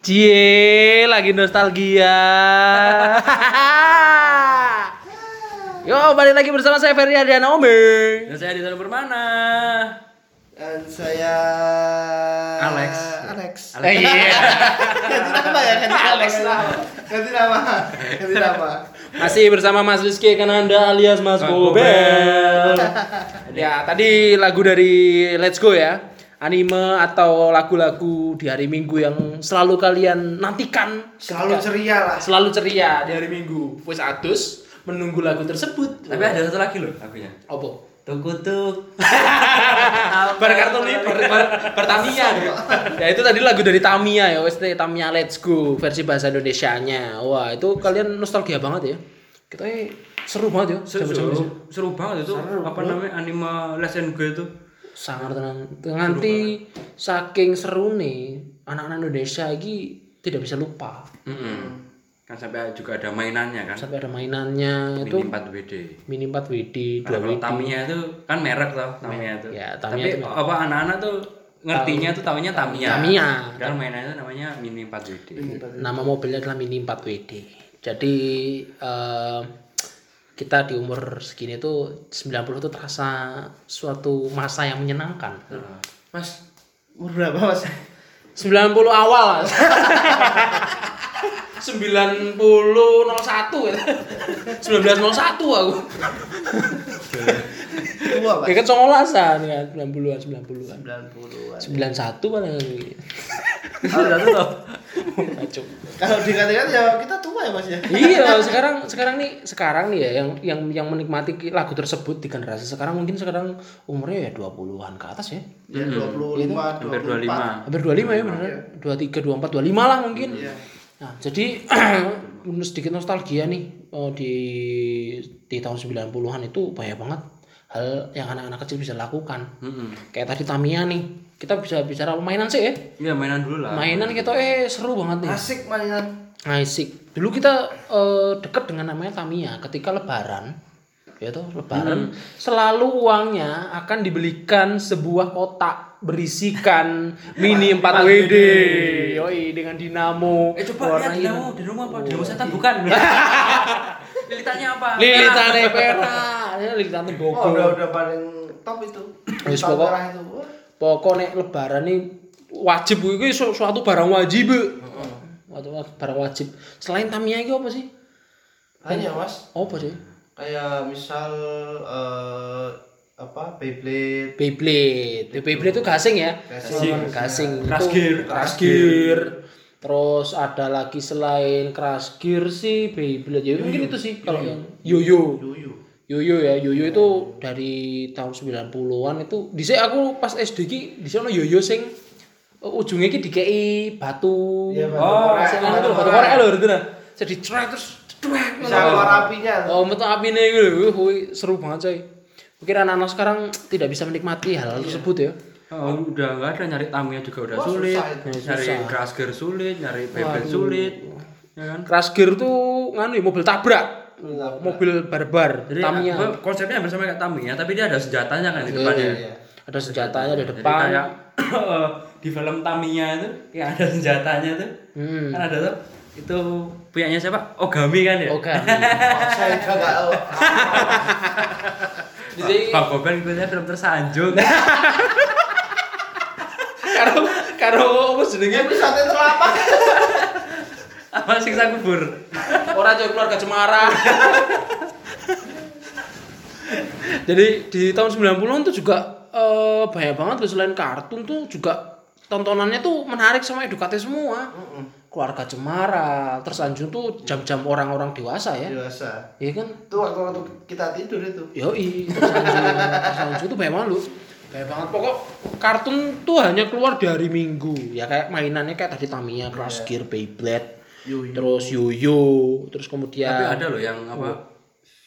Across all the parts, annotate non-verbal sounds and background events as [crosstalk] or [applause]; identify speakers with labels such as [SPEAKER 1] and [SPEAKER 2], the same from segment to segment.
[SPEAKER 1] Cie, lagi nostalgia. Yo, balik lagi bersama saya Ferry Adriana Omer.
[SPEAKER 2] Dan saya di sana bermana.
[SPEAKER 3] Dan saya
[SPEAKER 2] Alex.
[SPEAKER 3] Alex.
[SPEAKER 2] Alex.
[SPEAKER 1] Eh, Iya.
[SPEAKER 3] Ganti nama ya, ganti nama.
[SPEAKER 2] Alex lah.
[SPEAKER 3] Ganti nama. Ganti nama.
[SPEAKER 1] [laughs] Masih bersama Mas Rizky Kananda alias Mas
[SPEAKER 2] Mas
[SPEAKER 1] Gobel. [laughs] ya, tadi lagu dari Let's Go ya. Anime atau lagu-lagu di hari Minggu yang selalu kalian nantikan,
[SPEAKER 3] Selalu ceria lah.
[SPEAKER 1] selalu ceria di hari Minggu. Wis adus menunggu lagu tersebut.
[SPEAKER 2] Tapi ada satu lagi loh lagunya.
[SPEAKER 1] opo?
[SPEAKER 2] Tungkutuk.
[SPEAKER 1] bar kartu lebar bar, bar Tamiya gitu. ya itu tadi lagu dari Tamiya ya wes deh, Tamiya Let's Go versi bahasa Indonesianya wah itu kalian nostalgia banget ya kita ini seru banget ya
[SPEAKER 2] Seru,
[SPEAKER 1] zaman-zaman
[SPEAKER 2] seru,
[SPEAKER 1] itu.
[SPEAKER 2] seru banget itu. Apa namanya anime Lesson Go itu?
[SPEAKER 1] sangat tenang nganti saking seru nih anak-anak Indonesia ini tidak bisa lupa
[SPEAKER 2] Mm-mm. Kan sampai juga ada mainannya kan.
[SPEAKER 1] sampai ada mainannya itu
[SPEAKER 2] Mini 4 WD.
[SPEAKER 1] mini 4 WD 2
[SPEAKER 2] Karena Nah, kalau
[SPEAKER 1] WD
[SPEAKER 2] Tamiya itu kan merek toh Tamiya itu.
[SPEAKER 1] Ya, Tamiya
[SPEAKER 2] Tapi
[SPEAKER 1] itu merek.
[SPEAKER 2] apa anak-anak tuh ngertinya tuh tahunya Tamiya.
[SPEAKER 1] Tamiya.
[SPEAKER 2] Kan mainannya itu namanya Mini 4 WD.
[SPEAKER 1] nama mobilnya adalah Mini 4WD. Jadi eh, kita di umur segini tuh 90 tuh terasa suatu masa yang menyenangkan.
[SPEAKER 3] Mas, umur berapa, Mas?
[SPEAKER 1] 90 awal. 9001 1901 aku.
[SPEAKER 3] Tua, Mas.
[SPEAKER 1] Ya kan songolasan kan 90-an 90-an.
[SPEAKER 3] 90-an.
[SPEAKER 1] 91 paling aku.
[SPEAKER 2] Oh, udah tuh.
[SPEAKER 1] Kacau.
[SPEAKER 3] Kalau dikatakan ya kita tua ya, Mas ya.
[SPEAKER 1] iya sekarang sekarang nih sekarang nih ya yang yang yang menikmati lagu tersebut di generasi sekarang mungkin sekarang umurnya ya 20-an ke atas ya
[SPEAKER 3] Ya 25,
[SPEAKER 2] Hampir
[SPEAKER 3] 25.
[SPEAKER 2] 25.
[SPEAKER 1] hampir 25 ya benar 23 24 25 lah mungkin
[SPEAKER 3] Iya.
[SPEAKER 1] nah jadi [clears throat] menurut sedikit nostalgia nih eh, di di tahun 90-an itu banyak banget hal yang anak-anak kecil bisa lakukan
[SPEAKER 2] Mm-mm.
[SPEAKER 1] kayak tadi Tamiya nih kita bisa bicara mainan sih ya
[SPEAKER 2] Iya, mainan dulu lah.
[SPEAKER 1] mainan kita eh seru banget nih
[SPEAKER 3] Asik mainan.
[SPEAKER 1] Isaac. Dulu kita eh, dekat dengan namanya Tamiya. Ketika Lebaran, ya toh Lebaran, selalu uangnya akan dibelikan sebuah kotak berisikan mini 4 WD. Yoi dengan dinamo.
[SPEAKER 2] Eh coba
[SPEAKER 1] warna
[SPEAKER 2] lihat dinamo di rumah apa?
[SPEAKER 1] Oh,
[SPEAKER 2] Dinamo setan
[SPEAKER 1] [laughs]
[SPEAKER 2] bukan. Lilitannya apa?
[SPEAKER 1] hitam. iya. Lilitan perak, ya, lilitan
[SPEAKER 3] Oh,
[SPEAKER 1] Bogor.
[SPEAKER 3] udah udah paling top itu.
[SPEAKER 1] Wis,
[SPEAKER 3] Tahun
[SPEAKER 1] pokok-
[SPEAKER 3] merah itu. Wah,
[SPEAKER 1] Pokok nek lebaran nih wajib itu su- suatu barang wajib. Suatu barang wajib. Selain Tamiya itu apa sih?
[SPEAKER 3] Banyak, Mas.
[SPEAKER 1] Apa sih?
[SPEAKER 3] Kayak misal eh, apa? Beyblade.
[SPEAKER 1] Beyblade. The Beyblade itu gasing ya.
[SPEAKER 3] Gasing.
[SPEAKER 1] Lawan gasing.
[SPEAKER 2] Crush
[SPEAKER 1] Itu
[SPEAKER 2] gear.
[SPEAKER 1] Crush gear. Terus ada lagi selain crush gear sih Beyblade. Ya mungkin itu sih kalau yang yoyo.
[SPEAKER 3] Yuyu.
[SPEAKER 1] Yoyo ya, yoyo itu dari tahun 90-an itu. Dhisik aku pas SD ki dhisik ono yoyo sing eh, ujungnya ki dikei batu.
[SPEAKER 3] Iya, batu
[SPEAKER 1] oh,
[SPEAKER 3] korek.
[SPEAKER 1] sing anu tuh, batu
[SPEAKER 3] Batu
[SPEAKER 1] korek
[SPEAKER 3] korek.
[SPEAKER 1] lho itu nah. Jadi cerek terus ceduek.
[SPEAKER 3] Bisa keluar apinya.
[SPEAKER 1] [laughs] Oh, metu apine iku lho, wih, wih, seru banget coy. Mungkin anak-anak sekarang tidak bisa menikmati hal, -hal tersebut ya.
[SPEAKER 2] Oh, udah nggak ada nyari Tamiya juga udah
[SPEAKER 3] Wah,
[SPEAKER 2] sulit,
[SPEAKER 3] susah itu.
[SPEAKER 2] nyari crush gear sulit, nyari bebel sulit, ya kan?
[SPEAKER 1] Crash Gear tuh nganu ya, mobil tabrak. Mobil barbar,
[SPEAKER 2] Jadi
[SPEAKER 1] Tamiya.
[SPEAKER 2] apa- konsepnya hampir sama kayak Tamiya, tapi dia ada senjatanya kan di depannya.
[SPEAKER 1] Iya. Ada senjatanya di
[SPEAKER 2] Jadi
[SPEAKER 1] depan.
[SPEAKER 2] kayak [coughs] eh, di film Tamiya itu yang ada senjatanya tuh,
[SPEAKER 1] Hmm.
[SPEAKER 2] kan ada tuh itu punyanya siapa? Ogami kan ya?
[SPEAKER 1] Oke.
[SPEAKER 3] Saya juga nggak tahu.
[SPEAKER 1] [laughs] Jadi
[SPEAKER 2] Pak Gobel ikutnya film tersanjung.
[SPEAKER 1] karo karo apa jenenge?
[SPEAKER 3] Episode terlama.
[SPEAKER 2] Apa siksa kubur?
[SPEAKER 1] Orang coy keluarga cemara. [laughs] Jadi di tahun 90-an tuh juga eh, banyak banget loh selain kartun tuh juga tontonannya tuh menarik sama edukatif semua. Keluarga cemara, tersanjung tuh jam-jam orang-orang dewasa ya.
[SPEAKER 3] Dewasa.
[SPEAKER 1] Iya kan?
[SPEAKER 3] Itu waktu-waktu kita tidur itu.
[SPEAKER 1] Yoi, tersanjung. tersanjung tuh banyak banget loh. Banyak banget pokok kartun tuh hanya keluar di hari Minggu. Ya kayak mainannya kayak tadi Tamiya, Crush Gear, Beyblade,
[SPEAKER 3] Iya. Yuyu.
[SPEAKER 1] terus Yoyo, terus kemudian
[SPEAKER 2] Tapi ada loh yang apa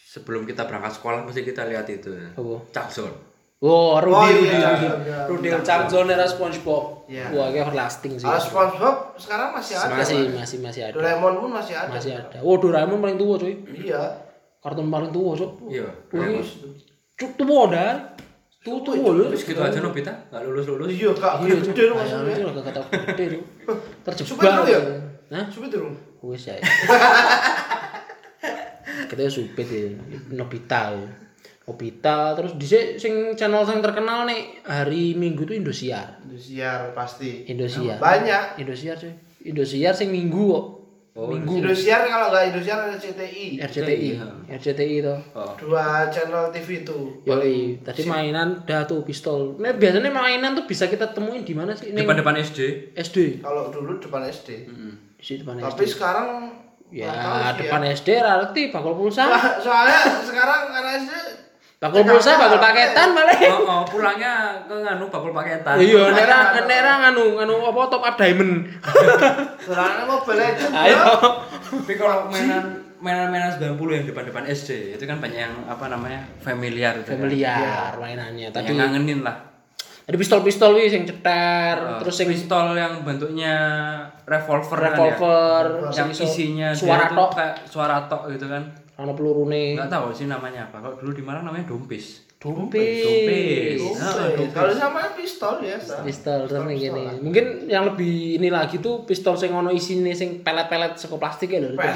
[SPEAKER 2] sebelum kita berangkat sekolah mesti kita lihat itu. ya.
[SPEAKER 1] Apa?
[SPEAKER 2] Capsule.
[SPEAKER 1] Wow, Rudy,
[SPEAKER 3] Oh,
[SPEAKER 1] Rudy,
[SPEAKER 3] iya,
[SPEAKER 1] Rudy,
[SPEAKER 3] iya.
[SPEAKER 1] Rudy, Charmzone era SpongeBob.
[SPEAKER 3] Iya.
[SPEAKER 1] Wah, kayak lasting sih.
[SPEAKER 3] Kalau SpongeBob sekarang masih ada.
[SPEAKER 1] masih,
[SPEAKER 3] Mas.
[SPEAKER 1] masih, masih ada.
[SPEAKER 3] Doraemon pun masih ada.
[SPEAKER 1] Masih ada. Wow, Doraemon paling tua cuy.
[SPEAKER 3] Iya.
[SPEAKER 1] Kartun paling tua cuy.
[SPEAKER 2] Iya.
[SPEAKER 1] Ini cuk tua dah. Tutul.
[SPEAKER 2] Terus gitu aja Nobita, nggak lulus lulus.
[SPEAKER 3] Iya, Kak.
[SPEAKER 1] Iya,
[SPEAKER 3] Gede
[SPEAKER 1] Cuk.
[SPEAKER 3] gede dong
[SPEAKER 1] Ayo,
[SPEAKER 3] maksudnya.
[SPEAKER 1] itu lah kata gede Cuk.
[SPEAKER 3] Supir
[SPEAKER 1] Terjebak.
[SPEAKER 3] dulu ya?
[SPEAKER 1] Hah?
[SPEAKER 3] Coba dong.
[SPEAKER 1] Wis
[SPEAKER 3] [laughs]
[SPEAKER 1] ya. Kita ya supit ya, Nobita. ya. Nobita terus dhisik sing channel sing terkenal nih hari Minggu tuh Indosiar.
[SPEAKER 3] Indosiar pasti.
[SPEAKER 1] Indosiar.
[SPEAKER 3] Banyak.
[SPEAKER 1] Indosiar cuy. Indosiar sing Minggu kok.
[SPEAKER 2] Oh,
[SPEAKER 1] Minggu
[SPEAKER 3] Indosiar kalau nggak Indosiar ada CTI.
[SPEAKER 1] RCTI. RCTI to.
[SPEAKER 2] Oh.
[SPEAKER 3] Dua channel TV itu.
[SPEAKER 1] Yoi, tadi mainan dah tuh pistol. Nah, biasanya mainan tuh bisa kita temuin di mana sih? Ning
[SPEAKER 2] Depan depan
[SPEAKER 1] [laughs]
[SPEAKER 2] SD.
[SPEAKER 1] SD.
[SPEAKER 3] Kalau dulu depan SD.
[SPEAKER 1] Di situ depan SD.
[SPEAKER 3] Tapi sekarang
[SPEAKER 1] Ya,
[SPEAKER 3] nggak tahu sih
[SPEAKER 1] depan SD berarti bakul
[SPEAKER 3] [laughs]
[SPEAKER 1] pulsa.
[SPEAKER 3] So- [laughs] Soalnya sekarang anak SD
[SPEAKER 1] Bakul pulsa, bakul paketan malah.
[SPEAKER 2] Oh, oh, pulangnya ke nganu bakul paketan.
[SPEAKER 1] [laughs] Iya, nera nera nganu nganu apa top up diamond.
[SPEAKER 3] Soalnya Mobile Legends.
[SPEAKER 1] Ayo.
[SPEAKER 3] bro.
[SPEAKER 1] [laughs]
[SPEAKER 2] Tapi kalau mainan mainan-mainan 90 yang depan-depan SD itu kan banyak yang apa namanya familiar gitu kan.
[SPEAKER 1] Familiar mainannya
[SPEAKER 2] Banyak
[SPEAKER 1] tadi.
[SPEAKER 2] yang ngangenin lah Oh,
[SPEAKER 1] Ada pistol-pistol wis yang cetar, terus yang
[SPEAKER 2] pistol yang bentuknya revolver, kan
[SPEAKER 1] revolver,
[SPEAKER 2] ya
[SPEAKER 1] sing
[SPEAKER 2] yang
[SPEAKER 1] iso
[SPEAKER 2] isinya dia
[SPEAKER 1] suara
[SPEAKER 2] tuh
[SPEAKER 1] tok, Iya.
[SPEAKER 2] kayak suara tok gitu kan
[SPEAKER 1] ana pelurune.
[SPEAKER 2] nggak tahu sih namanya apa kalau dulu di Malang namanya dompis
[SPEAKER 1] Dompet.
[SPEAKER 3] Oke, Iya, Kalau sama pistol ya, biasa.
[SPEAKER 1] Iya, pistol terus nih gini mungkin yang lebih ini lagi tuh pistol sing ono isine sing pelet-pelet saka plastik ya lho
[SPEAKER 3] Pelet.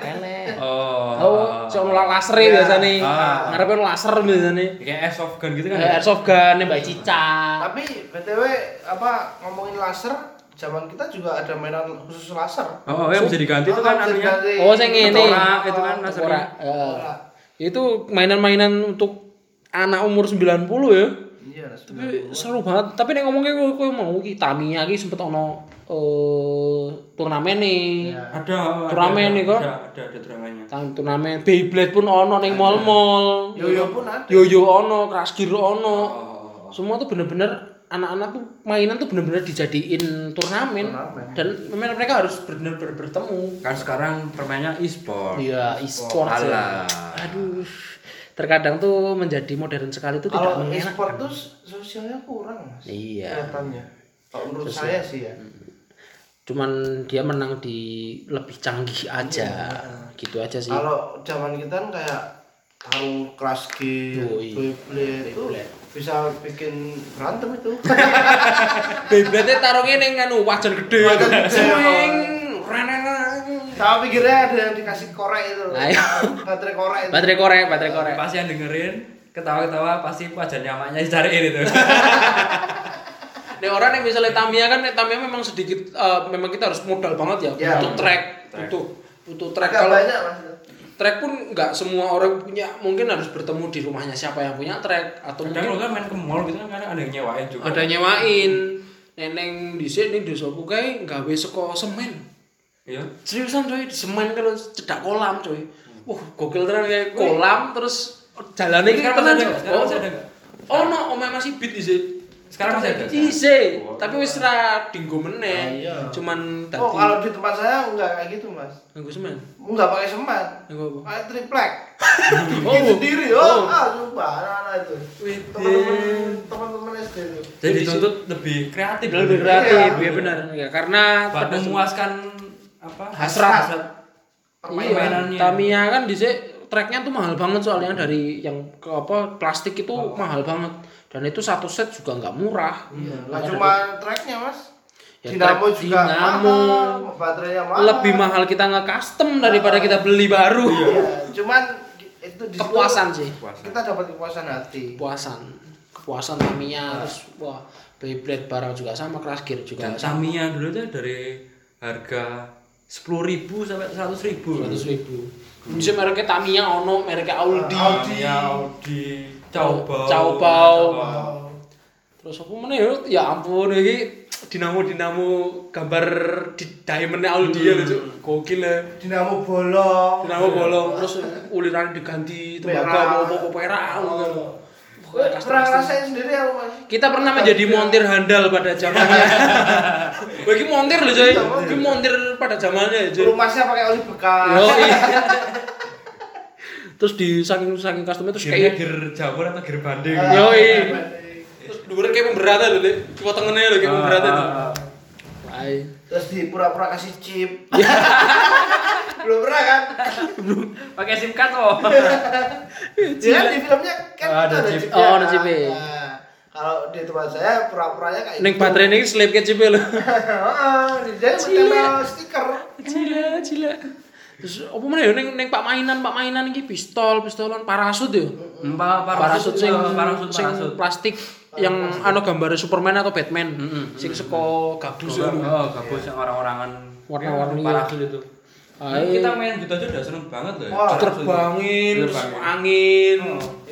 [SPEAKER 1] pelet
[SPEAKER 2] oh,
[SPEAKER 1] oh sing ono laser biasa nih
[SPEAKER 2] Ah.
[SPEAKER 1] ngarepe ono laser biasa nih
[SPEAKER 2] kayak airsoft gun gitu kan ya?
[SPEAKER 1] airsoft gun nembak cicak
[SPEAKER 3] Tapi BTW apa ngomongin laser, zaman kita juga ada mainan khusus laser.
[SPEAKER 2] oh, oh, yang bisa diganti itu kan
[SPEAKER 3] Apa,
[SPEAKER 2] anunya
[SPEAKER 3] diganti?
[SPEAKER 1] oh sing ini
[SPEAKER 2] Tengkorak, itu kan lasernya.
[SPEAKER 1] Ora, eh, itu mainan-mainan untuk anak umur 90 ya
[SPEAKER 3] Iya, laser.
[SPEAKER 1] tapi seru banget tapi nek ngomongnya kowe kowe mau ki Tamiya ki sempet ono eh turnamen nih
[SPEAKER 2] ada ada-
[SPEAKER 1] Turnamen nih, kok.
[SPEAKER 2] ada ada ada dramanya
[SPEAKER 1] Tang turnamen Beyblade pun ono ning mall-mall.
[SPEAKER 3] Yoyo pun ada.
[SPEAKER 1] Yoyo ono, Crash Gear ono.
[SPEAKER 2] oh.
[SPEAKER 1] Semua tuh bener-bener anak-anak tuh mainan tuh bener-bener dijadiin turnamen
[SPEAKER 3] Turnamen.
[SPEAKER 1] dan memang mereka harus bener-bener bertemu.
[SPEAKER 2] kan sekarang permainnya e-sport
[SPEAKER 1] Iya, e-sport. ya.
[SPEAKER 2] Alah.
[SPEAKER 1] Aduh. Terkadang tuh menjadi modern sekali itu tidak
[SPEAKER 3] Kalau
[SPEAKER 1] mengenak.
[SPEAKER 3] e-sport tuh sosialnya kurang, Mas.
[SPEAKER 1] Iya.
[SPEAKER 3] Kelihatannya. Kalau menurut saya sih ya.
[SPEAKER 1] Cuman dia menang di lebih canggih aja. Gitu aja sih.
[SPEAKER 3] Iya, Kalau zaman kita kan kayak taruh kelas G,
[SPEAKER 1] Yoi.
[SPEAKER 3] Beyblade itu bisa bikin berantem itu. [laughs]
[SPEAKER 1] Beyblade taruhnya ning anu wajan gede.
[SPEAKER 3] Wajan gede. oh.
[SPEAKER 1] Swing. Reneng.
[SPEAKER 3] Sama pikirnya ada yang dikasih korek itu.
[SPEAKER 1] Ayo.
[SPEAKER 3] Baterai korek itu.
[SPEAKER 1] Baterai korek, baterai korek.
[SPEAKER 2] pasti yang dengerin ketawa-ketawa pasti wajan nyamannya dicariin [laughs] itu
[SPEAKER 1] Nek orang yang misalnya Tamiya kan, nek Tamiya memang sedikit, eh, memang kita harus modal banget ya,
[SPEAKER 3] Ya.
[SPEAKER 1] untuk track, untuk untuk track.
[SPEAKER 3] Agak
[SPEAKER 1] Kalau
[SPEAKER 3] banyak Mas.
[SPEAKER 1] track pun nggak semua orang punya, mungkin harus bertemu di rumahnya siapa yang punya track atau
[SPEAKER 2] kadang
[SPEAKER 1] mungkin
[SPEAKER 2] lo kan main ke mall gitu kan kadang ada yang nyewain juga
[SPEAKER 1] ada nyewain. Neneng di sini di desa kayak nggawe seko semen.
[SPEAKER 2] iya
[SPEAKER 1] Seriusan coy, di semen kan harus cedak kolam coy. Wah, gokil tenan kayak kolam terus jalannya kayak
[SPEAKER 2] Sekarang masih
[SPEAKER 1] tenan
[SPEAKER 2] ada
[SPEAKER 1] coy.
[SPEAKER 2] nggak? Sekarang masih ada nggak?
[SPEAKER 1] Oh, no, omah masih beat isih.
[SPEAKER 2] Sekarang masih ada?
[SPEAKER 1] Isih,
[SPEAKER 2] Oh.
[SPEAKER 1] tapi wis ra dinggo meneh.
[SPEAKER 3] iya.
[SPEAKER 1] Cuman
[SPEAKER 3] Oh,
[SPEAKER 1] tadi
[SPEAKER 3] kalau di tempat saya enggak kayak gitu, Mas.
[SPEAKER 1] nganggo semen.
[SPEAKER 3] Enggak pakai semat.
[SPEAKER 1] Nganggo apa?
[SPEAKER 3] Pakai
[SPEAKER 1] [laughs]
[SPEAKER 3] triplek.
[SPEAKER 1] Oh.
[SPEAKER 3] Gitu sendiri. Oh,
[SPEAKER 1] Oh.
[SPEAKER 3] ah, sumpah anak-anak itu.
[SPEAKER 1] Wih,
[SPEAKER 3] Teman-teman teman-teman SD itu.
[SPEAKER 1] Iya.
[SPEAKER 2] jadi dituntut lebih kreatif
[SPEAKER 1] lebih kreatif, ya benar. Ya karena
[SPEAKER 2] buat
[SPEAKER 1] pada
[SPEAKER 2] memuaskan apa
[SPEAKER 1] Hasrat.
[SPEAKER 3] Permainan.
[SPEAKER 2] permainannya.
[SPEAKER 1] Iya, Tamiya kan dhisik tracknya tuh mahal banget soalnya dari yang ke apa plastik itu mahal banget dan itu satu set juga nggak murah.
[SPEAKER 3] Enggak Iya. Nah, cuma tracknya, Mas.
[SPEAKER 1] Ya,
[SPEAKER 3] Dinamo
[SPEAKER 1] track
[SPEAKER 3] juga
[SPEAKER 1] dinamo.
[SPEAKER 3] mahal, baterainya mahal.
[SPEAKER 1] lebih mahal kita nge-custom daripada kita beli baru.
[SPEAKER 3] Iya, cuman itu di situ
[SPEAKER 1] Kepuasan sih.
[SPEAKER 3] Kita dapat kepuasan hati.
[SPEAKER 1] Kepuasan. Kepuasan Tamiya terus wah Beyblade barang juga sama Crash Gear juga.
[SPEAKER 2] dan Tamiya dulu tuh dari harga sepuluh ribu sampai seratus ribu
[SPEAKER 1] 100 ribu. Bisa mereknya Tamiya ono, mereknya Audi.
[SPEAKER 2] Tamiya Audi Caobao
[SPEAKER 1] Caobao. Terus aku mana ya? Ya ampun ini dinamo-dinamo gambar di diamondnya Audi ya lucu. Gokil ya.
[SPEAKER 3] Dinamo bolong.
[SPEAKER 1] Dinamo bolong terus uliran diganti
[SPEAKER 3] Merah.
[SPEAKER 1] tembaga apa-apa Iya. perak. Oh.
[SPEAKER 3] Gue pernah ngerasain sendiri aku mas. Iya.
[SPEAKER 1] kita pernah menjadi montir handal pada [laughs] zamannya. Bagi montir loh coy, Ki Iya, montir Iya. pada zamannya coy.
[SPEAKER 3] Rumahnya pakai oli bekas.
[SPEAKER 1] Yo, iya. terus di saking saking customnya terus
[SPEAKER 2] Gearnya
[SPEAKER 1] kayak
[SPEAKER 2] gear jamur atau gear
[SPEAKER 3] Eh,
[SPEAKER 2] banding
[SPEAKER 1] Ah. Yo, iya. terus dulu kayak pemberatan loh, Dek. coba tangannya loh kayak pemberatan. tuh. Ay.
[SPEAKER 3] Terus di pura-pura kasih chip.
[SPEAKER 1] Iya.
[SPEAKER 3] [laughs] Belum pernah kan?
[SPEAKER 2] pakai SIM card oh. loh
[SPEAKER 1] [laughs]
[SPEAKER 3] Ya kan di filmnya kan
[SPEAKER 2] Ah, ada
[SPEAKER 3] itu
[SPEAKER 2] chip.
[SPEAKER 3] chipnya,
[SPEAKER 1] Oh, ada chipnya.
[SPEAKER 3] kan? Kalau di tempat saya pura-puranya kayak gitu.
[SPEAKER 1] Neng baterai ini slip kecil [laughs] lho.
[SPEAKER 3] Heeh, jadi tempel stiker.
[SPEAKER 1] Cila, cila. Terus apa mana ya neng neng pak mainan pak mainan iki pistol pistolan parasut ya.
[SPEAKER 2] Mbak
[SPEAKER 1] Parasut sing
[SPEAKER 2] parasut
[SPEAKER 1] sing
[SPEAKER 2] parasut.
[SPEAKER 1] plastik yang anu gambar Superman atau Batman.
[SPEAKER 2] Mm-mm.
[SPEAKER 1] Sing seko gabus. ya.
[SPEAKER 2] Oh, gabus yang orang-orangan
[SPEAKER 1] Warna-warni ya.
[SPEAKER 2] parasut itu.
[SPEAKER 1] Ae.
[SPEAKER 2] Kita main gitu aja udah seru banget loh. ya.
[SPEAKER 3] Wah,
[SPEAKER 2] Parasut.
[SPEAKER 1] Terbangin, terus
[SPEAKER 2] Terbangin.
[SPEAKER 1] angin.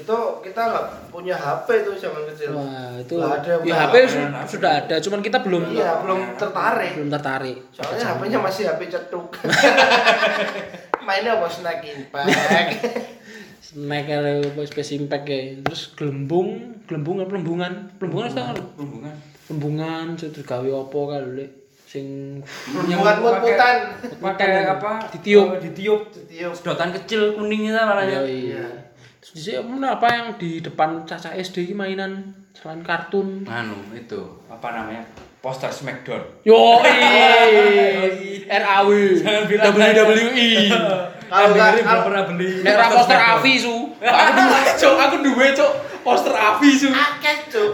[SPEAKER 3] Itu kita nggak punya HP itu zaman kecil.
[SPEAKER 1] Wah, itu
[SPEAKER 3] Nggak ada yang
[SPEAKER 1] ya
[SPEAKER 3] punya
[SPEAKER 1] HP su-
[SPEAKER 2] HP.
[SPEAKER 1] sudah ada, cuman kita belum
[SPEAKER 3] Iya, belum tertarik.
[SPEAKER 1] belum tertarik.
[SPEAKER 3] Soalnya HP-nya masih HP
[SPEAKER 1] [laughs]
[SPEAKER 3] cetuk. Mainnya apa snack
[SPEAKER 1] [laughs]
[SPEAKER 3] impact.
[SPEAKER 1] Snack kali space impact kayak terus gelembung, gelembung apa pelembungan? Pelembungan itu kan
[SPEAKER 2] Hubungan.
[SPEAKER 1] pelembungan terus gawe apa kali Le? sing
[SPEAKER 3] Bukan mut-mutan.
[SPEAKER 2] Pakai apa?
[SPEAKER 1] Ditiup.
[SPEAKER 2] eh, Ditiup.
[SPEAKER 3] Ditiup.
[SPEAKER 2] Sedotan kecil kuning itu warnanya.
[SPEAKER 1] iya. Terus dhisik mun apa yang di depan caca SD iki mainan jalan kartun.
[SPEAKER 2] Anu itu apa namanya? Poster Smackdown.
[SPEAKER 1] [laughs] Yo RAW
[SPEAKER 2] Jangan
[SPEAKER 1] E.
[SPEAKER 2] bilang [laughs]
[SPEAKER 1] WWE.
[SPEAKER 3] Kalau
[SPEAKER 2] Yang
[SPEAKER 3] nggak-
[SPEAKER 2] Eh, dengerin belum
[SPEAKER 3] kalau-
[SPEAKER 2] pernah beli.
[SPEAKER 1] Nek ra poster Avi su. Aku duwe cuk, aku duwe cuk poster Avi su.
[SPEAKER 3] akeh cuk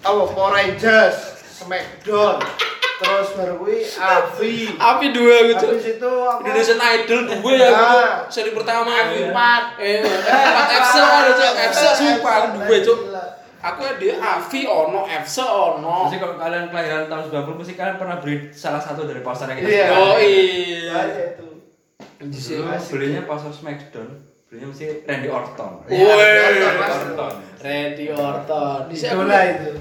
[SPEAKER 3] apa Power Rangers Smackdown terus baru kuwi Avi
[SPEAKER 1] Avi duwe aku cuk.
[SPEAKER 3] habis itu apa
[SPEAKER 1] Indonesian Idol duwe ya aku cuk. Seri pertama aku.
[SPEAKER 3] Empat.
[SPEAKER 1] Eh, empat FC ada cuk, FC sumpah aku duwe cuk. Aku ada Avi ono, FC ono.
[SPEAKER 2] Mesti kalau kalian kelahiran tahun 90 mesti kalian pernah beli salah satu dari poster yang kita
[SPEAKER 3] Iya.
[SPEAKER 2] suka.
[SPEAKER 1] Yo
[SPEAKER 3] Iya,
[SPEAKER 1] iya.
[SPEAKER 3] itu
[SPEAKER 2] Dulu belinya poster Smackdown, belinya mesti Randy Orton.
[SPEAKER 3] Iya,
[SPEAKER 1] Woi.
[SPEAKER 2] Orton.
[SPEAKER 1] Randy Orton. Di
[SPEAKER 3] idola itu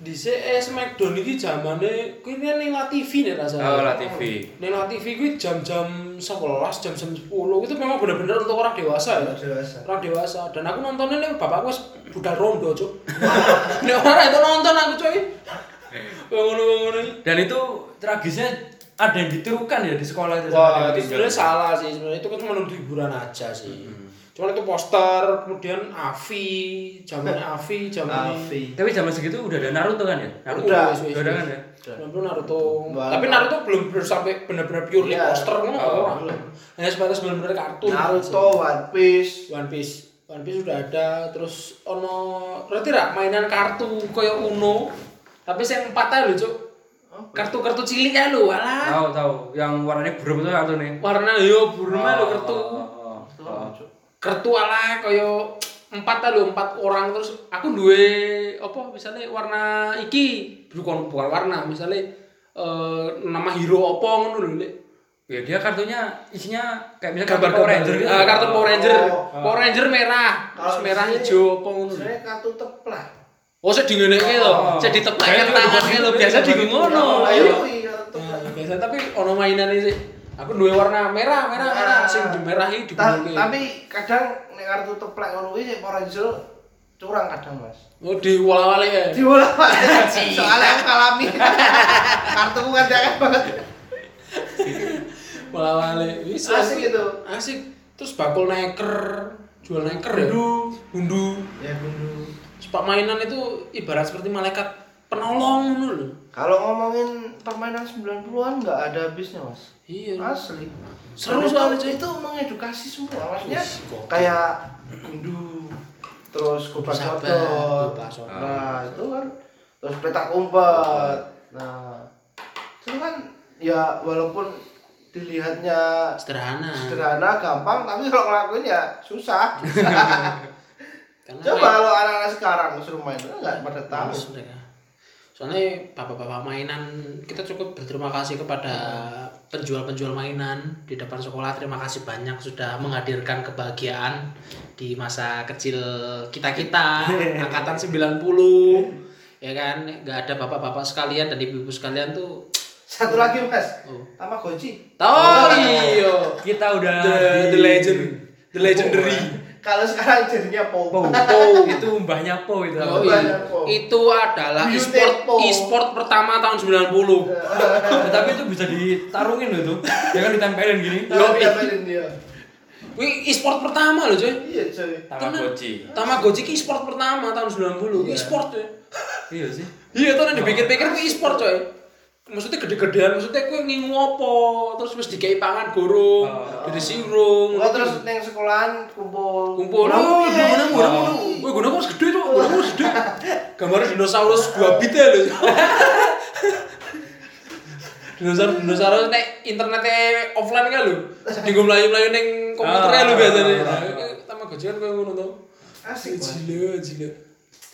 [SPEAKER 1] di eh, Smackdown iki zamane kuwi kan ning La TV nek rasane.
[SPEAKER 2] Oh, La TV.
[SPEAKER 1] Ning La TV kuwi jam-jam 11, jam-jam 10 itu memang bener-bener untuk orang dewasa ya.
[SPEAKER 3] Orang dewasa.
[SPEAKER 1] Orang dewasa. Dan aku nontonnya nih bapakku wis budal rondo, Cuk. [laughs] Nek ora itu nonton aku, Cuk. Ngono-ngono.
[SPEAKER 2] Dan itu tragisnya ada yang ditirukan ya di sekolah itu. sama
[SPEAKER 1] Wah, iya,
[SPEAKER 2] yang
[SPEAKER 1] itu
[SPEAKER 2] meninggal.
[SPEAKER 1] sebenarnya salah sih. Sebenarnya itu kan cuma untuk hiburan aja sih. Cuman itu poster, kemudian Avi, zaman Avi, zaman
[SPEAKER 3] Avi
[SPEAKER 2] Tapi zaman segitu udah ada Naruto kan ya? Naruto.
[SPEAKER 3] Udah,
[SPEAKER 1] wis, wis,
[SPEAKER 2] udah
[SPEAKER 1] wis.
[SPEAKER 2] kan ya?
[SPEAKER 1] Belum belum Naruto.
[SPEAKER 3] Mbak.
[SPEAKER 1] Tapi Naruto belum belum sampai benar-benar pure
[SPEAKER 3] Iya.
[SPEAKER 1] poster ngono
[SPEAKER 2] Oh,
[SPEAKER 1] orang. Hanya sebatas benar-benar kartun.
[SPEAKER 3] Naruto One Piece
[SPEAKER 1] One Piece. One Piece sudah ada terus ono berarti ra mainan kartu koyo Uno. Tapi sing empat ae lho, Cuk. Kartu-kartu cilik ae lho, alah.
[SPEAKER 2] Tahu tahu, yang warnanya burung itu kartu nih.
[SPEAKER 1] Warna yo burung ae lho kartu.
[SPEAKER 2] Oh, oh, oh.
[SPEAKER 1] Kartu ala koyo empat ae lho, empat orang terus aku duwe apa misalnya warna iki bukan bukan warna misalnya eh, nama hero apa ngono lho Lek.
[SPEAKER 2] Ya dia kartunya isinya kayak misalnya
[SPEAKER 1] gambar
[SPEAKER 2] kartu Power Ranger gitu.
[SPEAKER 1] Ah, kartu Power Ranger.
[SPEAKER 3] Oh.
[SPEAKER 1] Power Ranger merah, terus
[SPEAKER 3] Kalau
[SPEAKER 1] merah
[SPEAKER 3] di sini-
[SPEAKER 1] hijau apa ngono.
[SPEAKER 3] Oh, sebenarnya kartu teplak
[SPEAKER 1] Oh, sik dingeneke lho.
[SPEAKER 2] Oh.
[SPEAKER 1] Sik diteplake
[SPEAKER 2] Kayak
[SPEAKER 1] tangannya
[SPEAKER 2] gitu,
[SPEAKER 1] lho,
[SPEAKER 2] gitu,
[SPEAKER 1] biasa
[SPEAKER 2] gitu.
[SPEAKER 1] dienggo ngono.
[SPEAKER 2] Oh,
[SPEAKER 3] ayo
[SPEAKER 1] Nah,
[SPEAKER 3] iya kartu teplak.
[SPEAKER 1] Biasa tapi ono mainane sih. Aku duwe warna merah, merah, merah. Sing di merah iki
[SPEAKER 3] Ta-
[SPEAKER 1] dibungke.
[SPEAKER 3] tapi kadang nek kartu teplak ngono kuwi sik Power Ranger curang kadang mas
[SPEAKER 1] Oh, diwala-wali ya.
[SPEAKER 3] diulang Pak. soalnya aku kalami kartuku kan jangan banget
[SPEAKER 1] Wala-wali. Wis
[SPEAKER 3] Asik itu.
[SPEAKER 1] Asik. Terus bakul neker, jual neker ya.
[SPEAKER 2] Bundu.
[SPEAKER 1] Bundu.
[SPEAKER 3] ya dulu
[SPEAKER 1] Sepak mainan itu ibarat seperti malaikat penolong ngono lho.
[SPEAKER 3] kalau ngomongin permainan 90-an nggak ada habisnya mas
[SPEAKER 1] Iya.
[SPEAKER 3] asli Dan
[SPEAKER 1] Seru
[SPEAKER 3] itu-
[SPEAKER 1] soalnya, cuy.
[SPEAKER 3] itu mengedukasi semua maksudnya
[SPEAKER 1] Wih, gokil.
[SPEAKER 3] kayak gundu terus kupas
[SPEAKER 1] Sabar,
[SPEAKER 3] kotor
[SPEAKER 1] kupas soto.
[SPEAKER 3] nah itu kan terus petak umpet nah itu kan ya walaupun dilihatnya
[SPEAKER 1] Sederhana.
[SPEAKER 3] sederhana gampang tapi kalau ngelakuin ya susah
[SPEAKER 1] Karena
[SPEAKER 3] [laughs] coba kalau anak-anak sekarang suruh main nggak pada tahu
[SPEAKER 1] Harus mereka. ya. Soalnya bapak-bapak mainan kita cukup berterima kasih kepada penjual-penjual mainan di depan sekolah. Terima kasih banyak sudah menghadirkan kebahagiaan di masa kecil [laughs] kita-kita angkatan 90. Ya kan, nggak ada bapak-bapak sekalian dan ibu-ibu sekalian tuh.
[SPEAKER 3] satu lagi mas
[SPEAKER 1] Oh.
[SPEAKER 3] Tamagotchi
[SPEAKER 1] Oh, iya.
[SPEAKER 2] Kita udah
[SPEAKER 1] The, the legend, the legendary.
[SPEAKER 3] kalau sekarang jadinya
[SPEAKER 2] Po.
[SPEAKER 3] popo [laughs]
[SPEAKER 2] itu mbahnya Po itu.
[SPEAKER 1] Yoi.
[SPEAKER 3] Banyak, Po.
[SPEAKER 1] Oh, iya. itu adalah
[SPEAKER 3] Beauty,
[SPEAKER 1] e-sport
[SPEAKER 3] Po.
[SPEAKER 1] e-sport pertama tahun 90.
[SPEAKER 2] Tapi itu bisa ditarungin loh itu. Ya kan ditempelin gini.
[SPEAKER 1] Iya.
[SPEAKER 3] Tahu diapain Iya, dia
[SPEAKER 1] Wih, e-sport pertama loh, coy.
[SPEAKER 3] iya cuy
[SPEAKER 2] Tamagotchi.
[SPEAKER 1] Tamagotchi ki e-sport pertama tahun 90 e-sport coy.
[SPEAKER 2] Iya sih.
[SPEAKER 1] Iya, tuh dipikir-pikir ki e-sport coy. maksudnya gede-gedean maksudnya kowe ngingu apa terus wis dikei pangan gorong diresirung
[SPEAKER 3] Gua Oh, terus neng sekolahan kumpul.
[SPEAKER 1] kumpul
[SPEAKER 3] Lah,
[SPEAKER 1] oh
[SPEAKER 3] iya.
[SPEAKER 1] gunung gunung gunung gue gunung gede tuh gunung gede gambar dinosaurus dua bit ya loh dinosaurus dinosaurus nek internetnya offline kan lo jadi gue melayu melayu neng komputernya lo biasanya
[SPEAKER 2] Ah.
[SPEAKER 1] sama gojekan gue kan ngono tuh
[SPEAKER 3] Asik,
[SPEAKER 1] Iya,
[SPEAKER 3] Mas.
[SPEAKER 1] jile jile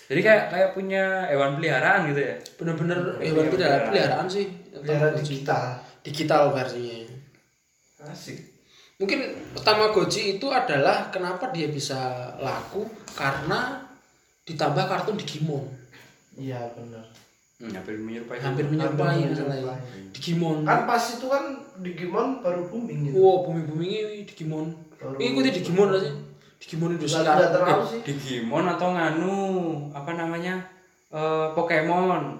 [SPEAKER 2] Jadi kayak kayak punya hewan peliharaan gitu ya.
[SPEAKER 1] bener-bener hewan Iya, peliharaan peliharaan sih
[SPEAKER 3] Biar
[SPEAKER 1] Tamagotchi.
[SPEAKER 3] digital.
[SPEAKER 1] digital versinya
[SPEAKER 3] Asik.
[SPEAKER 1] Mungkin Tamagotchi itu adalah kenapa dia bisa laku karena ditambah kartun Digimon.
[SPEAKER 3] Iya benar.
[SPEAKER 2] Hmm, hampir menyerupai.
[SPEAKER 1] Hampir
[SPEAKER 2] hewan.
[SPEAKER 1] menyerupai
[SPEAKER 3] menyerupai.
[SPEAKER 1] misalnya. Digimon.
[SPEAKER 3] Kan pas itu kan Digimon baru booming gitu.
[SPEAKER 1] Wow, bumi-bumi ini Digimon.
[SPEAKER 3] Baru-
[SPEAKER 1] Ini ikuti Digimon lah sih. Digimon Indonesia. Eh,
[SPEAKER 3] Nggak- nggak terlalu sih.
[SPEAKER 2] Digimon atau nganu apa namanya Eh, Pokemon.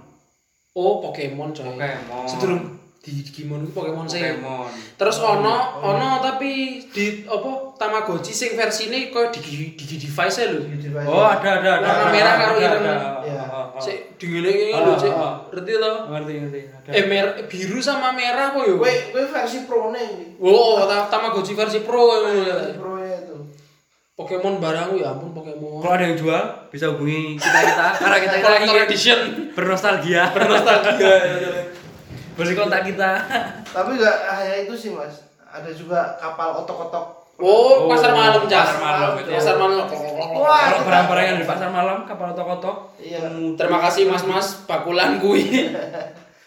[SPEAKER 1] Oh, Pokemon coy.
[SPEAKER 2] Pokemon.
[SPEAKER 1] Sebelum di Digimon itu Pokemon sih.
[SPEAKER 2] Pokemon.
[SPEAKER 1] Terus ono ono tapi di apa Tamagotchi sing versi ini koyo digi digi device lho.
[SPEAKER 3] Digimon.
[SPEAKER 2] Oh ada ada ada.
[SPEAKER 1] Warna
[SPEAKER 2] ada,
[SPEAKER 1] merah
[SPEAKER 2] ada,
[SPEAKER 1] karo
[SPEAKER 2] ada,
[SPEAKER 1] ireng.
[SPEAKER 2] ada.
[SPEAKER 3] Iya.
[SPEAKER 2] Oh, oh.
[SPEAKER 1] Sik dingene iki lho, Cik.
[SPEAKER 2] Ah, ah.
[SPEAKER 1] Ngerti to?
[SPEAKER 2] Ngerti ngerti. Ada.
[SPEAKER 1] Eh mer biru sama merah kok yo.
[SPEAKER 3] Gue gue versi pro nih.
[SPEAKER 1] Wow, ta- Tamagotchi versi pro ya.
[SPEAKER 3] Versi pro itu.
[SPEAKER 1] Pokemon barang ya ampun Pokemon.
[SPEAKER 2] Kalau ada yang jual bisa hubungi kita kita [laughs] karena kita kita lagi
[SPEAKER 1] Collector edition.
[SPEAKER 2] bernostalgia
[SPEAKER 1] Bernostalgia.
[SPEAKER 2] [laughs] Boleh kontak kita.
[SPEAKER 3] Tapi nggak hanya itu sih mas. Ada juga kapal otok-otok.
[SPEAKER 1] Oh, pasar malam, Cas.
[SPEAKER 2] Pasar malam itu.
[SPEAKER 1] Pasar malam.
[SPEAKER 3] Wah.
[SPEAKER 2] Kalau barang-barang yang di pasar malam kapal otok-otok.
[SPEAKER 3] Iya.
[SPEAKER 2] kemudian-
[SPEAKER 1] Terima kasih mas-mas bakulan kui.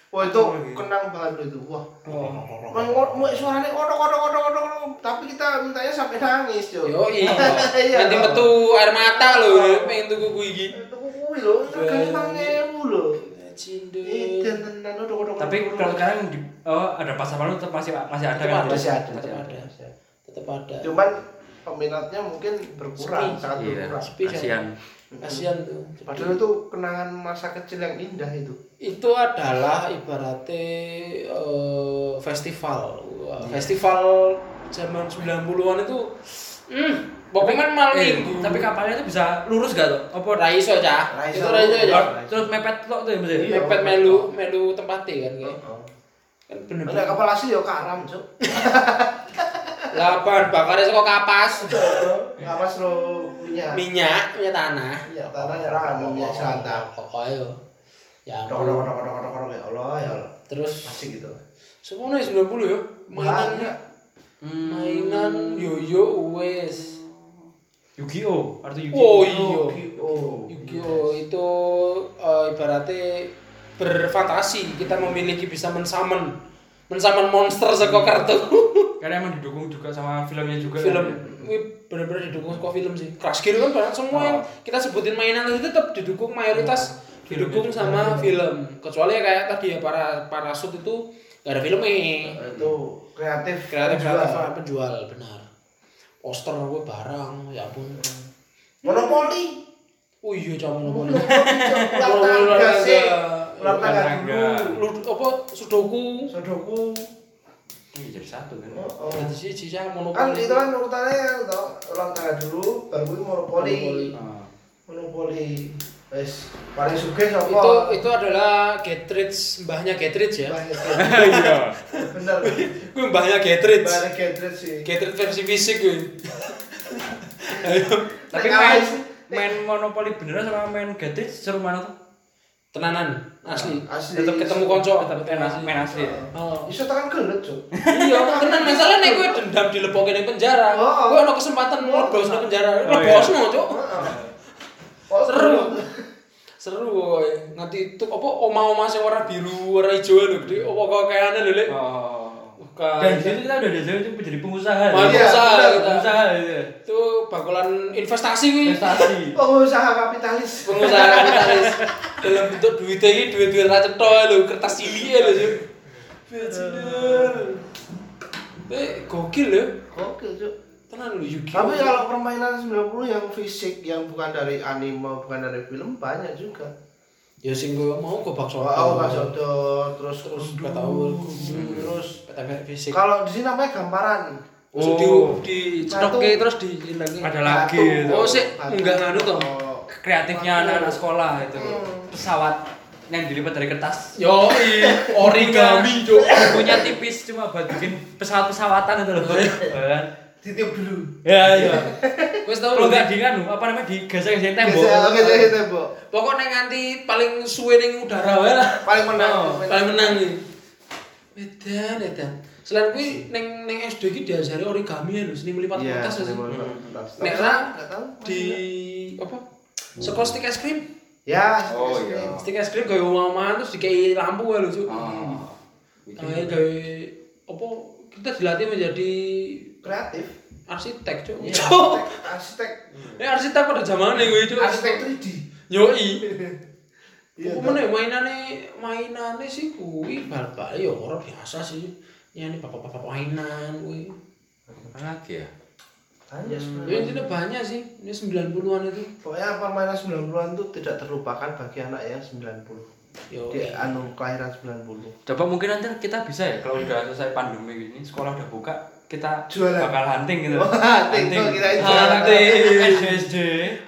[SPEAKER 3] Wah itu kenang banget itu. Wah.
[SPEAKER 2] Oh.
[SPEAKER 3] Main ngor- main suaranya odok odok odok odok odok. Tapi kita mintanya sampai nangis cuy.
[SPEAKER 1] Yo iya.
[SPEAKER 3] Iya.
[SPEAKER 1] Nanti metu air mata loh, pengen tuku kui iki.
[SPEAKER 3] Itu kuwi lho, harganya mang ewu lho.
[SPEAKER 1] Cindu.
[SPEAKER 3] Edan tenan odok odok.
[SPEAKER 2] Tapi kalau sekarang di, oh, ada pasar malam tetap masih masih ada
[SPEAKER 1] Tetap
[SPEAKER 2] kan?
[SPEAKER 1] ada.
[SPEAKER 3] masih ada.
[SPEAKER 1] Tetap
[SPEAKER 3] ada.
[SPEAKER 1] ada. Tetap ada.
[SPEAKER 3] Cuman peminatnya mungkin berkurang,
[SPEAKER 1] Sepi.
[SPEAKER 3] sangat
[SPEAKER 2] Iya.
[SPEAKER 3] berkurang.
[SPEAKER 1] Sepi kan?
[SPEAKER 2] Kasihan.
[SPEAKER 1] Kasihan tuh.
[SPEAKER 3] Padahal itu kenangan masa kecil yang indah itu.
[SPEAKER 1] itu adalah ibaratnya eh, festival Wah,
[SPEAKER 3] Iya.
[SPEAKER 1] festival zaman 90-an itu hmm, pokoknya
[SPEAKER 3] Iya.
[SPEAKER 1] malam
[SPEAKER 2] Eh,
[SPEAKER 1] minggu
[SPEAKER 2] tapi kapalnya itu bisa lurus gak tuh? Apa
[SPEAKER 1] ra iso cah
[SPEAKER 3] Ra iso.
[SPEAKER 1] itu ra iso cah
[SPEAKER 3] Ra iso.
[SPEAKER 2] terus mepet lo tuh ya maksudnya?
[SPEAKER 3] Iya.
[SPEAKER 1] mepet melu melu tempatnya kan kayak kan bener
[SPEAKER 3] Ada kapal asli ya karam, Cuk.
[SPEAKER 1] lapan bakarnya saka kapas
[SPEAKER 3] Kapas lo minyak.
[SPEAKER 1] minyak minyak tanah
[SPEAKER 3] Iya, tanah ya rakan minyak selantang.
[SPEAKER 1] pokoknya yo. ya
[SPEAKER 3] Odok odok odok odok odok odok ya Allah ya Allah.
[SPEAKER 1] terus
[SPEAKER 3] Asik gitu.
[SPEAKER 1] semuanya 90 ya mainan
[SPEAKER 3] Banyak.
[SPEAKER 1] mainan yoyo wes
[SPEAKER 2] Yu-Gi-Oh! Arti
[SPEAKER 1] oh
[SPEAKER 2] Yu-Gi-Oh!
[SPEAKER 1] iya
[SPEAKER 3] Oh.
[SPEAKER 1] Yu-Gi-Oh itu eh, ibaratnya berfantasi kita memiliki bisa mensamen mensamen monster saka kartu
[SPEAKER 2] Karena emang didukung juga sama filmnya juga.
[SPEAKER 1] film
[SPEAKER 2] kan?
[SPEAKER 1] ini benar-benar didukung saka film sih Crash Gear kan banyak semua yang kita sebutin mainan itu tetap didukung mayoritas didukung sama film kecuali ya kayak tadi ya para parasut itu gak ada filmnya
[SPEAKER 3] Itu kreatif.
[SPEAKER 1] kreatif
[SPEAKER 3] juga.
[SPEAKER 1] kreatif penjual benar poster gue barang ya ampun
[SPEAKER 3] Monopoli.
[SPEAKER 1] oh iya cuma
[SPEAKER 3] Monopoli.
[SPEAKER 1] ngomong
[SPEAKER 3] Cuk. Ular
[SPEAKER 1] Ular
[SPEAKER 3] tangga
[SPEAKER 1] tangga.
[SPEAKER 3] sih. Ular
[SPEAKER 2] Ular
[SPEAKER 3] tangga
[SPEAKER 2] tangga.
[SPEAKER 3] dulu.
[SPEAKER 1] lu apa sudoku
[SPEAKER 3] Sodoku.
[SPEAKER 2] Ini jadi satu kan.
[SPEAKER 3] Oh, oh.
[SPEAKER 1] Berarti sih sisa
[SPEAKER 3] Kan
[SPEAKER 1] monopoli.
[SPEAKER 3] itu kan urutannya tau. Ular tangga dulu, baru itu monopoli.
[SPEAKER 1] Monopoli.
[SPEAKER 2] Ah.
[SPEAKER 3] Monopoli. Wes, paling sugih sapa?
[SPEAKER 1] Itu itu adalah Getridge, mbahnya Getridge ya.
[SPEAKER 3] Banyak.
[SPEAKER 2] Iya.
[SPEAKER 3] Bener.
[SPEAKER 1] Gue mbahnya Getridge.
[SPEAKER 3] Banyak gadget sih.
[SPEAKER 1] Getridge versi fisik gue. [laughs] Ayo.
[SPEAKER 2] Tapi
[SPEAKER 3] Nek
[SPEAKER 2] main
[SPEAKER 3] awis-
[SPEAKER 2] main monopoli beneran sama main gadget seru mana tuh?
[SPEAKER 1] Tenanan asli.
[SPEAKER 3] Asli.
[SPEAKER 1] Tetep ketemu konco, tetep tenan
[SPEAKER 2] Main asli. Main asli. ya?
[SPEAKER 1] Oh.
[SPEAKER 3] Iso tekan gelut, Cuk.
[SPEAKER 1] Iya, [laughs] tenan masalah nih gue dendam dilepokin di penjara.
[SPEAKER 3] Oh.
[SPEAKER 1] Gue ada kesempatan mau lebos di penjara.
[SPEAKER 2] Oh, iya.
[SPEAKER 1] Lebos no, Cuk.
[SPEAKER 3] Heeh. Oh,
[SPEAKER 1] Seru. Seru woy. Nanti itu apa oma-oma sing warna biru, warna hijau lho gede apa kayaknya lho. Lek.
[SPEAKER 2] Oh.
[SPEAKER 1] Bukan.
[SPEAKER 2] Dan di situ kita udah dari itu jadi pengusaha. ya?
[SPEAKER 1] Wah,
[SPEAKER 3] Iya,
[SPEAKER 1] pengusaha
[SPEAKER 3] benar,
[SPEAKER 1] kita.
[SPEAKER 2] Pengusaha ya.
[SPEAKER 1] Itu bakulan investasi kuwi.
[SPEAKER 2] Prestasi.
[SPEAKER 3] Oh. Pengusaha kapitalis.
[SPEAKER 1] pengusaha kapitalis dalam bentuk duit ini duit duit raja toy lo kertas cilik ya lo sih eh gokil ya
[SPEAKER 3] Oke, Cuk.
[SPEAKER 1] tenan lo Yuki
[SPEAKER 3] Tapi kalau permainan 90 yang fisik yang bukan dari anime, bukan dari film banyak juga.
[SPEAKER 1] ya sing gue mau gue bakso
[SPEAKER 3] Wow, Mas Odor, terus Usdu,
[SPEAKER 1] Batawul.
[SPEAKER 3] terus
[SPEAKER 1] PTP fisik
[SPEAKER 3] kalau di sini namanya gambaran.
[SPEAKER 1] Terus Oh, di di gitu.
[SPEAKER 3] Batu.
[SPEAKER 1] cedokke terus di hilangi
[SPEAKER 2] Ada lagi
[SPEAKER 3] Batu.
[SPEAKER 2] itu.
[SPEAKER 1] Oh, sik. Enggak Oh, nganu toh.
[SPEAKER 3] Oh.
[SPEAKER 2] Kreatifnya anak-anak sekolah itu. gitu. Pesawat. yang dilipat dari kertas
[SPEAKER 1] Yo, origami, Cuk. Iya.
[SPEAKER 2] punya tipis cuma buat bikin pesawat-pesawatan itu loh Bang. Kan?
[SPEAKER 3] Ditiup dulu.
[SPEAKER 2] ya ya
[SPEAKER 1] Wis tau
[SPEAKER 2] kalau
[SPEAKER 1] lho.
[SPEAKER 2] nggak di nganu apa namanya di gesek-gesek tembok
[SPEAKER 3] Biasa oke saya tembok.
[SPEAKER 1] Pokok nek nganti paling suwe ning udara wae lah.
[SPEAKER 3] Paling menang.
[SPEAKER 1] Oh, paling menang iki. Edan, edan. Selain kuwi ning ning SD iki diajari origami ya lho, seni melipat
[SPEAKER 3] Iya,
[SPEAKER 1] kertas ya sih.
[SPEAKER 3] seni melipat kertas.
[SPEAKER 1] Nek ra
[SPEAKER 3] Nggak tahu, masih
[SPEAKER 1] di apa? Sekolah stik es krim.
[SPEAKER 3] Ya,
[SPEAKER 2] Oh,
[SPEAKER 3] es krim.
[SPEAKER 2] iya.
[SPEAKER 1] Stik es krim gawe omahan terus dikei lampu ya lho, Cuk.
[SPEAKER 3] Ah,
[SPEAKER 2] oh
[SPEAKER 1] Tangannya gawe apa kita dilatih menjadi
[SPEAKER 3] kreatif.
[SPEAKER 1] arsitek, Cuk. Cuk.
[SPEAKER 3] Arsitek, arsitek,
[SPEAKER 1] Eh arsitek pada zamane kuwi, Cuk.
[SPEAKER 3] arsitek 3D.
[SPEAKER 1] Yoi.
[SPEAKER 3] Iya,
[SPEAKER 1] Aku meneh mainane mainane sih kuwi bal-bal ya ora biasa sih. Nyani bapak-bapak mainan kuwi.
[SPEAKER 2] apa lagi ya
[SPEAKER 3] Tanya
[SPEAKER 1] Ya
[SPEAKER 3] sebenarnya.
[SPEAKER 1] intinya banyak sih. Ini 90-an itu.
[SPEAKER 3] Pokoknya permainan 90-an itu tidak terlupakan bagi anak yang 90.
[SPEAKER 1] Yo.
[SPEAKER 3] Di anu kelahiran [laughs] 90.
[SPEAKER 2] coba mungkin nanti kita bisa ya kalau udah selesai pandemi ini sekolah udah buka kita
[SPEAKER 3] Jualan.
[SPEAKER 2] bakal hunting gitu
[SPEAKER 3] Wah, hunting. Kok kirain jualan.
[SPEAKER 2] hunting SD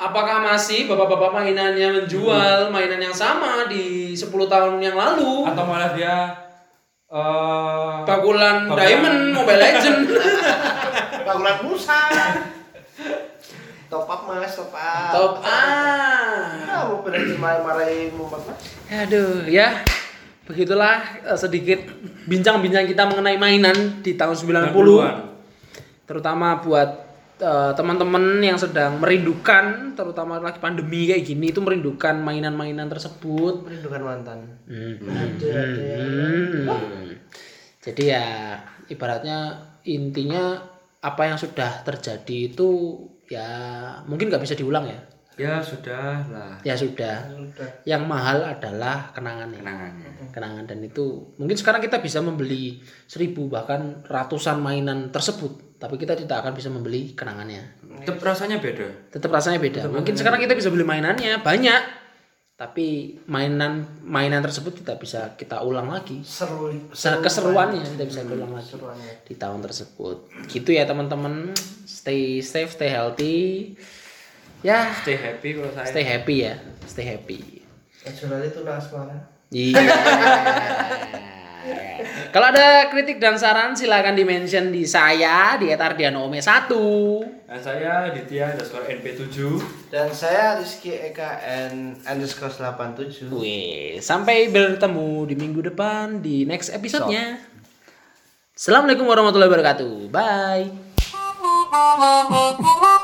[SPEAKER 1] Apakah masih bapak-bapak mainannya menjual mainan yang sama di 10 tahun yang lalu?
[SPEAKER 2] atau malah dia eh
[SPEAKER 1] Bakulan
[SPEAKER 2] Bakulan.
[SPEAKER 1] Diamond, Mobile Legend.
[SPEAKER 3] Bangunan Musa. top up mas, top up.
[SPEAKER 1] Top
[SPEAKER 3] Nah,
[SPEAKER 1] ah.
[SPEAKER 3] mau berani marah-marahin Muhammad mas.
[SPEAKER 1] Aduh, ya. Begitulah eh, sedikit bincang-bincang kita mengenai mainan di tahun 90.
[SPEAKER 2] 90-an.
[SPEAKER 1] terutama buat eh, teman-teman yang sedang merindukan terutama lagi pandemi kayak gini itu merindukan mainan-mainan tersebut
[SPEAKER 3] Perlindungan mantan.
[SPEAKER 1] Hmm. jadi ya ibaratnya intinya apa yang sudah terjadi itu ya mungkin nggak bisa diulang ya
[SPEAKER 2] ya sudah lah
[SPEAKER 1] ya sudah
[SPEAKER 3] Udah.
[SPEAKER 1] yang mahal adalah kenangannya
[SPEAKER 2] kenangannya
[SPEAKER 1] kenangan dan itu mungkin sekarang kita bisa membeli seribu bahkan ratusan mainan tersebut tapi kita tidak akan bisa membeli kenangannya
[SPEAKER 2] tetap rasanya beda
[SPEAKER 1] tetap rasanya beda. Mungkin sekarang kita bisa beli mainannya banyak, tapi mainan mainan tersebut tidak bisa kita ulang lagi.
[SPEAKER 3] Seru. ya.
[SPEAKER 1] Se- Keseruannya tidak bisa diulang lagi
[SPEAKER 3] Keseruannya.
[SPEAKER 1] di tahun tersebut. Gitu ya teman-teman. Stay safe, stay healthy. Ya,
[SPEAKER 2] stay happy kalau saya
[SPEAKER 1] stay happy ya, stay happy.
[SPEAKER 3] Kecuali itu asmara.
[SPEAKER 1] Iya. Kalau ada kritik dan saran silakan di mention di saya di @ardianoome 1.
[SPEAKER 2] dan Nah, saya Ditya underscore NP7
[SPEAKER 3] Dan saya Rizky Eka N underscore 87.
[SPEAKER 1] Wih, sampai bertemu di minggu depan di next episode-nya. Assalamualaikum warahmatullahi wabarakatuh. Bye.
[SPEAKER 4] Thank you.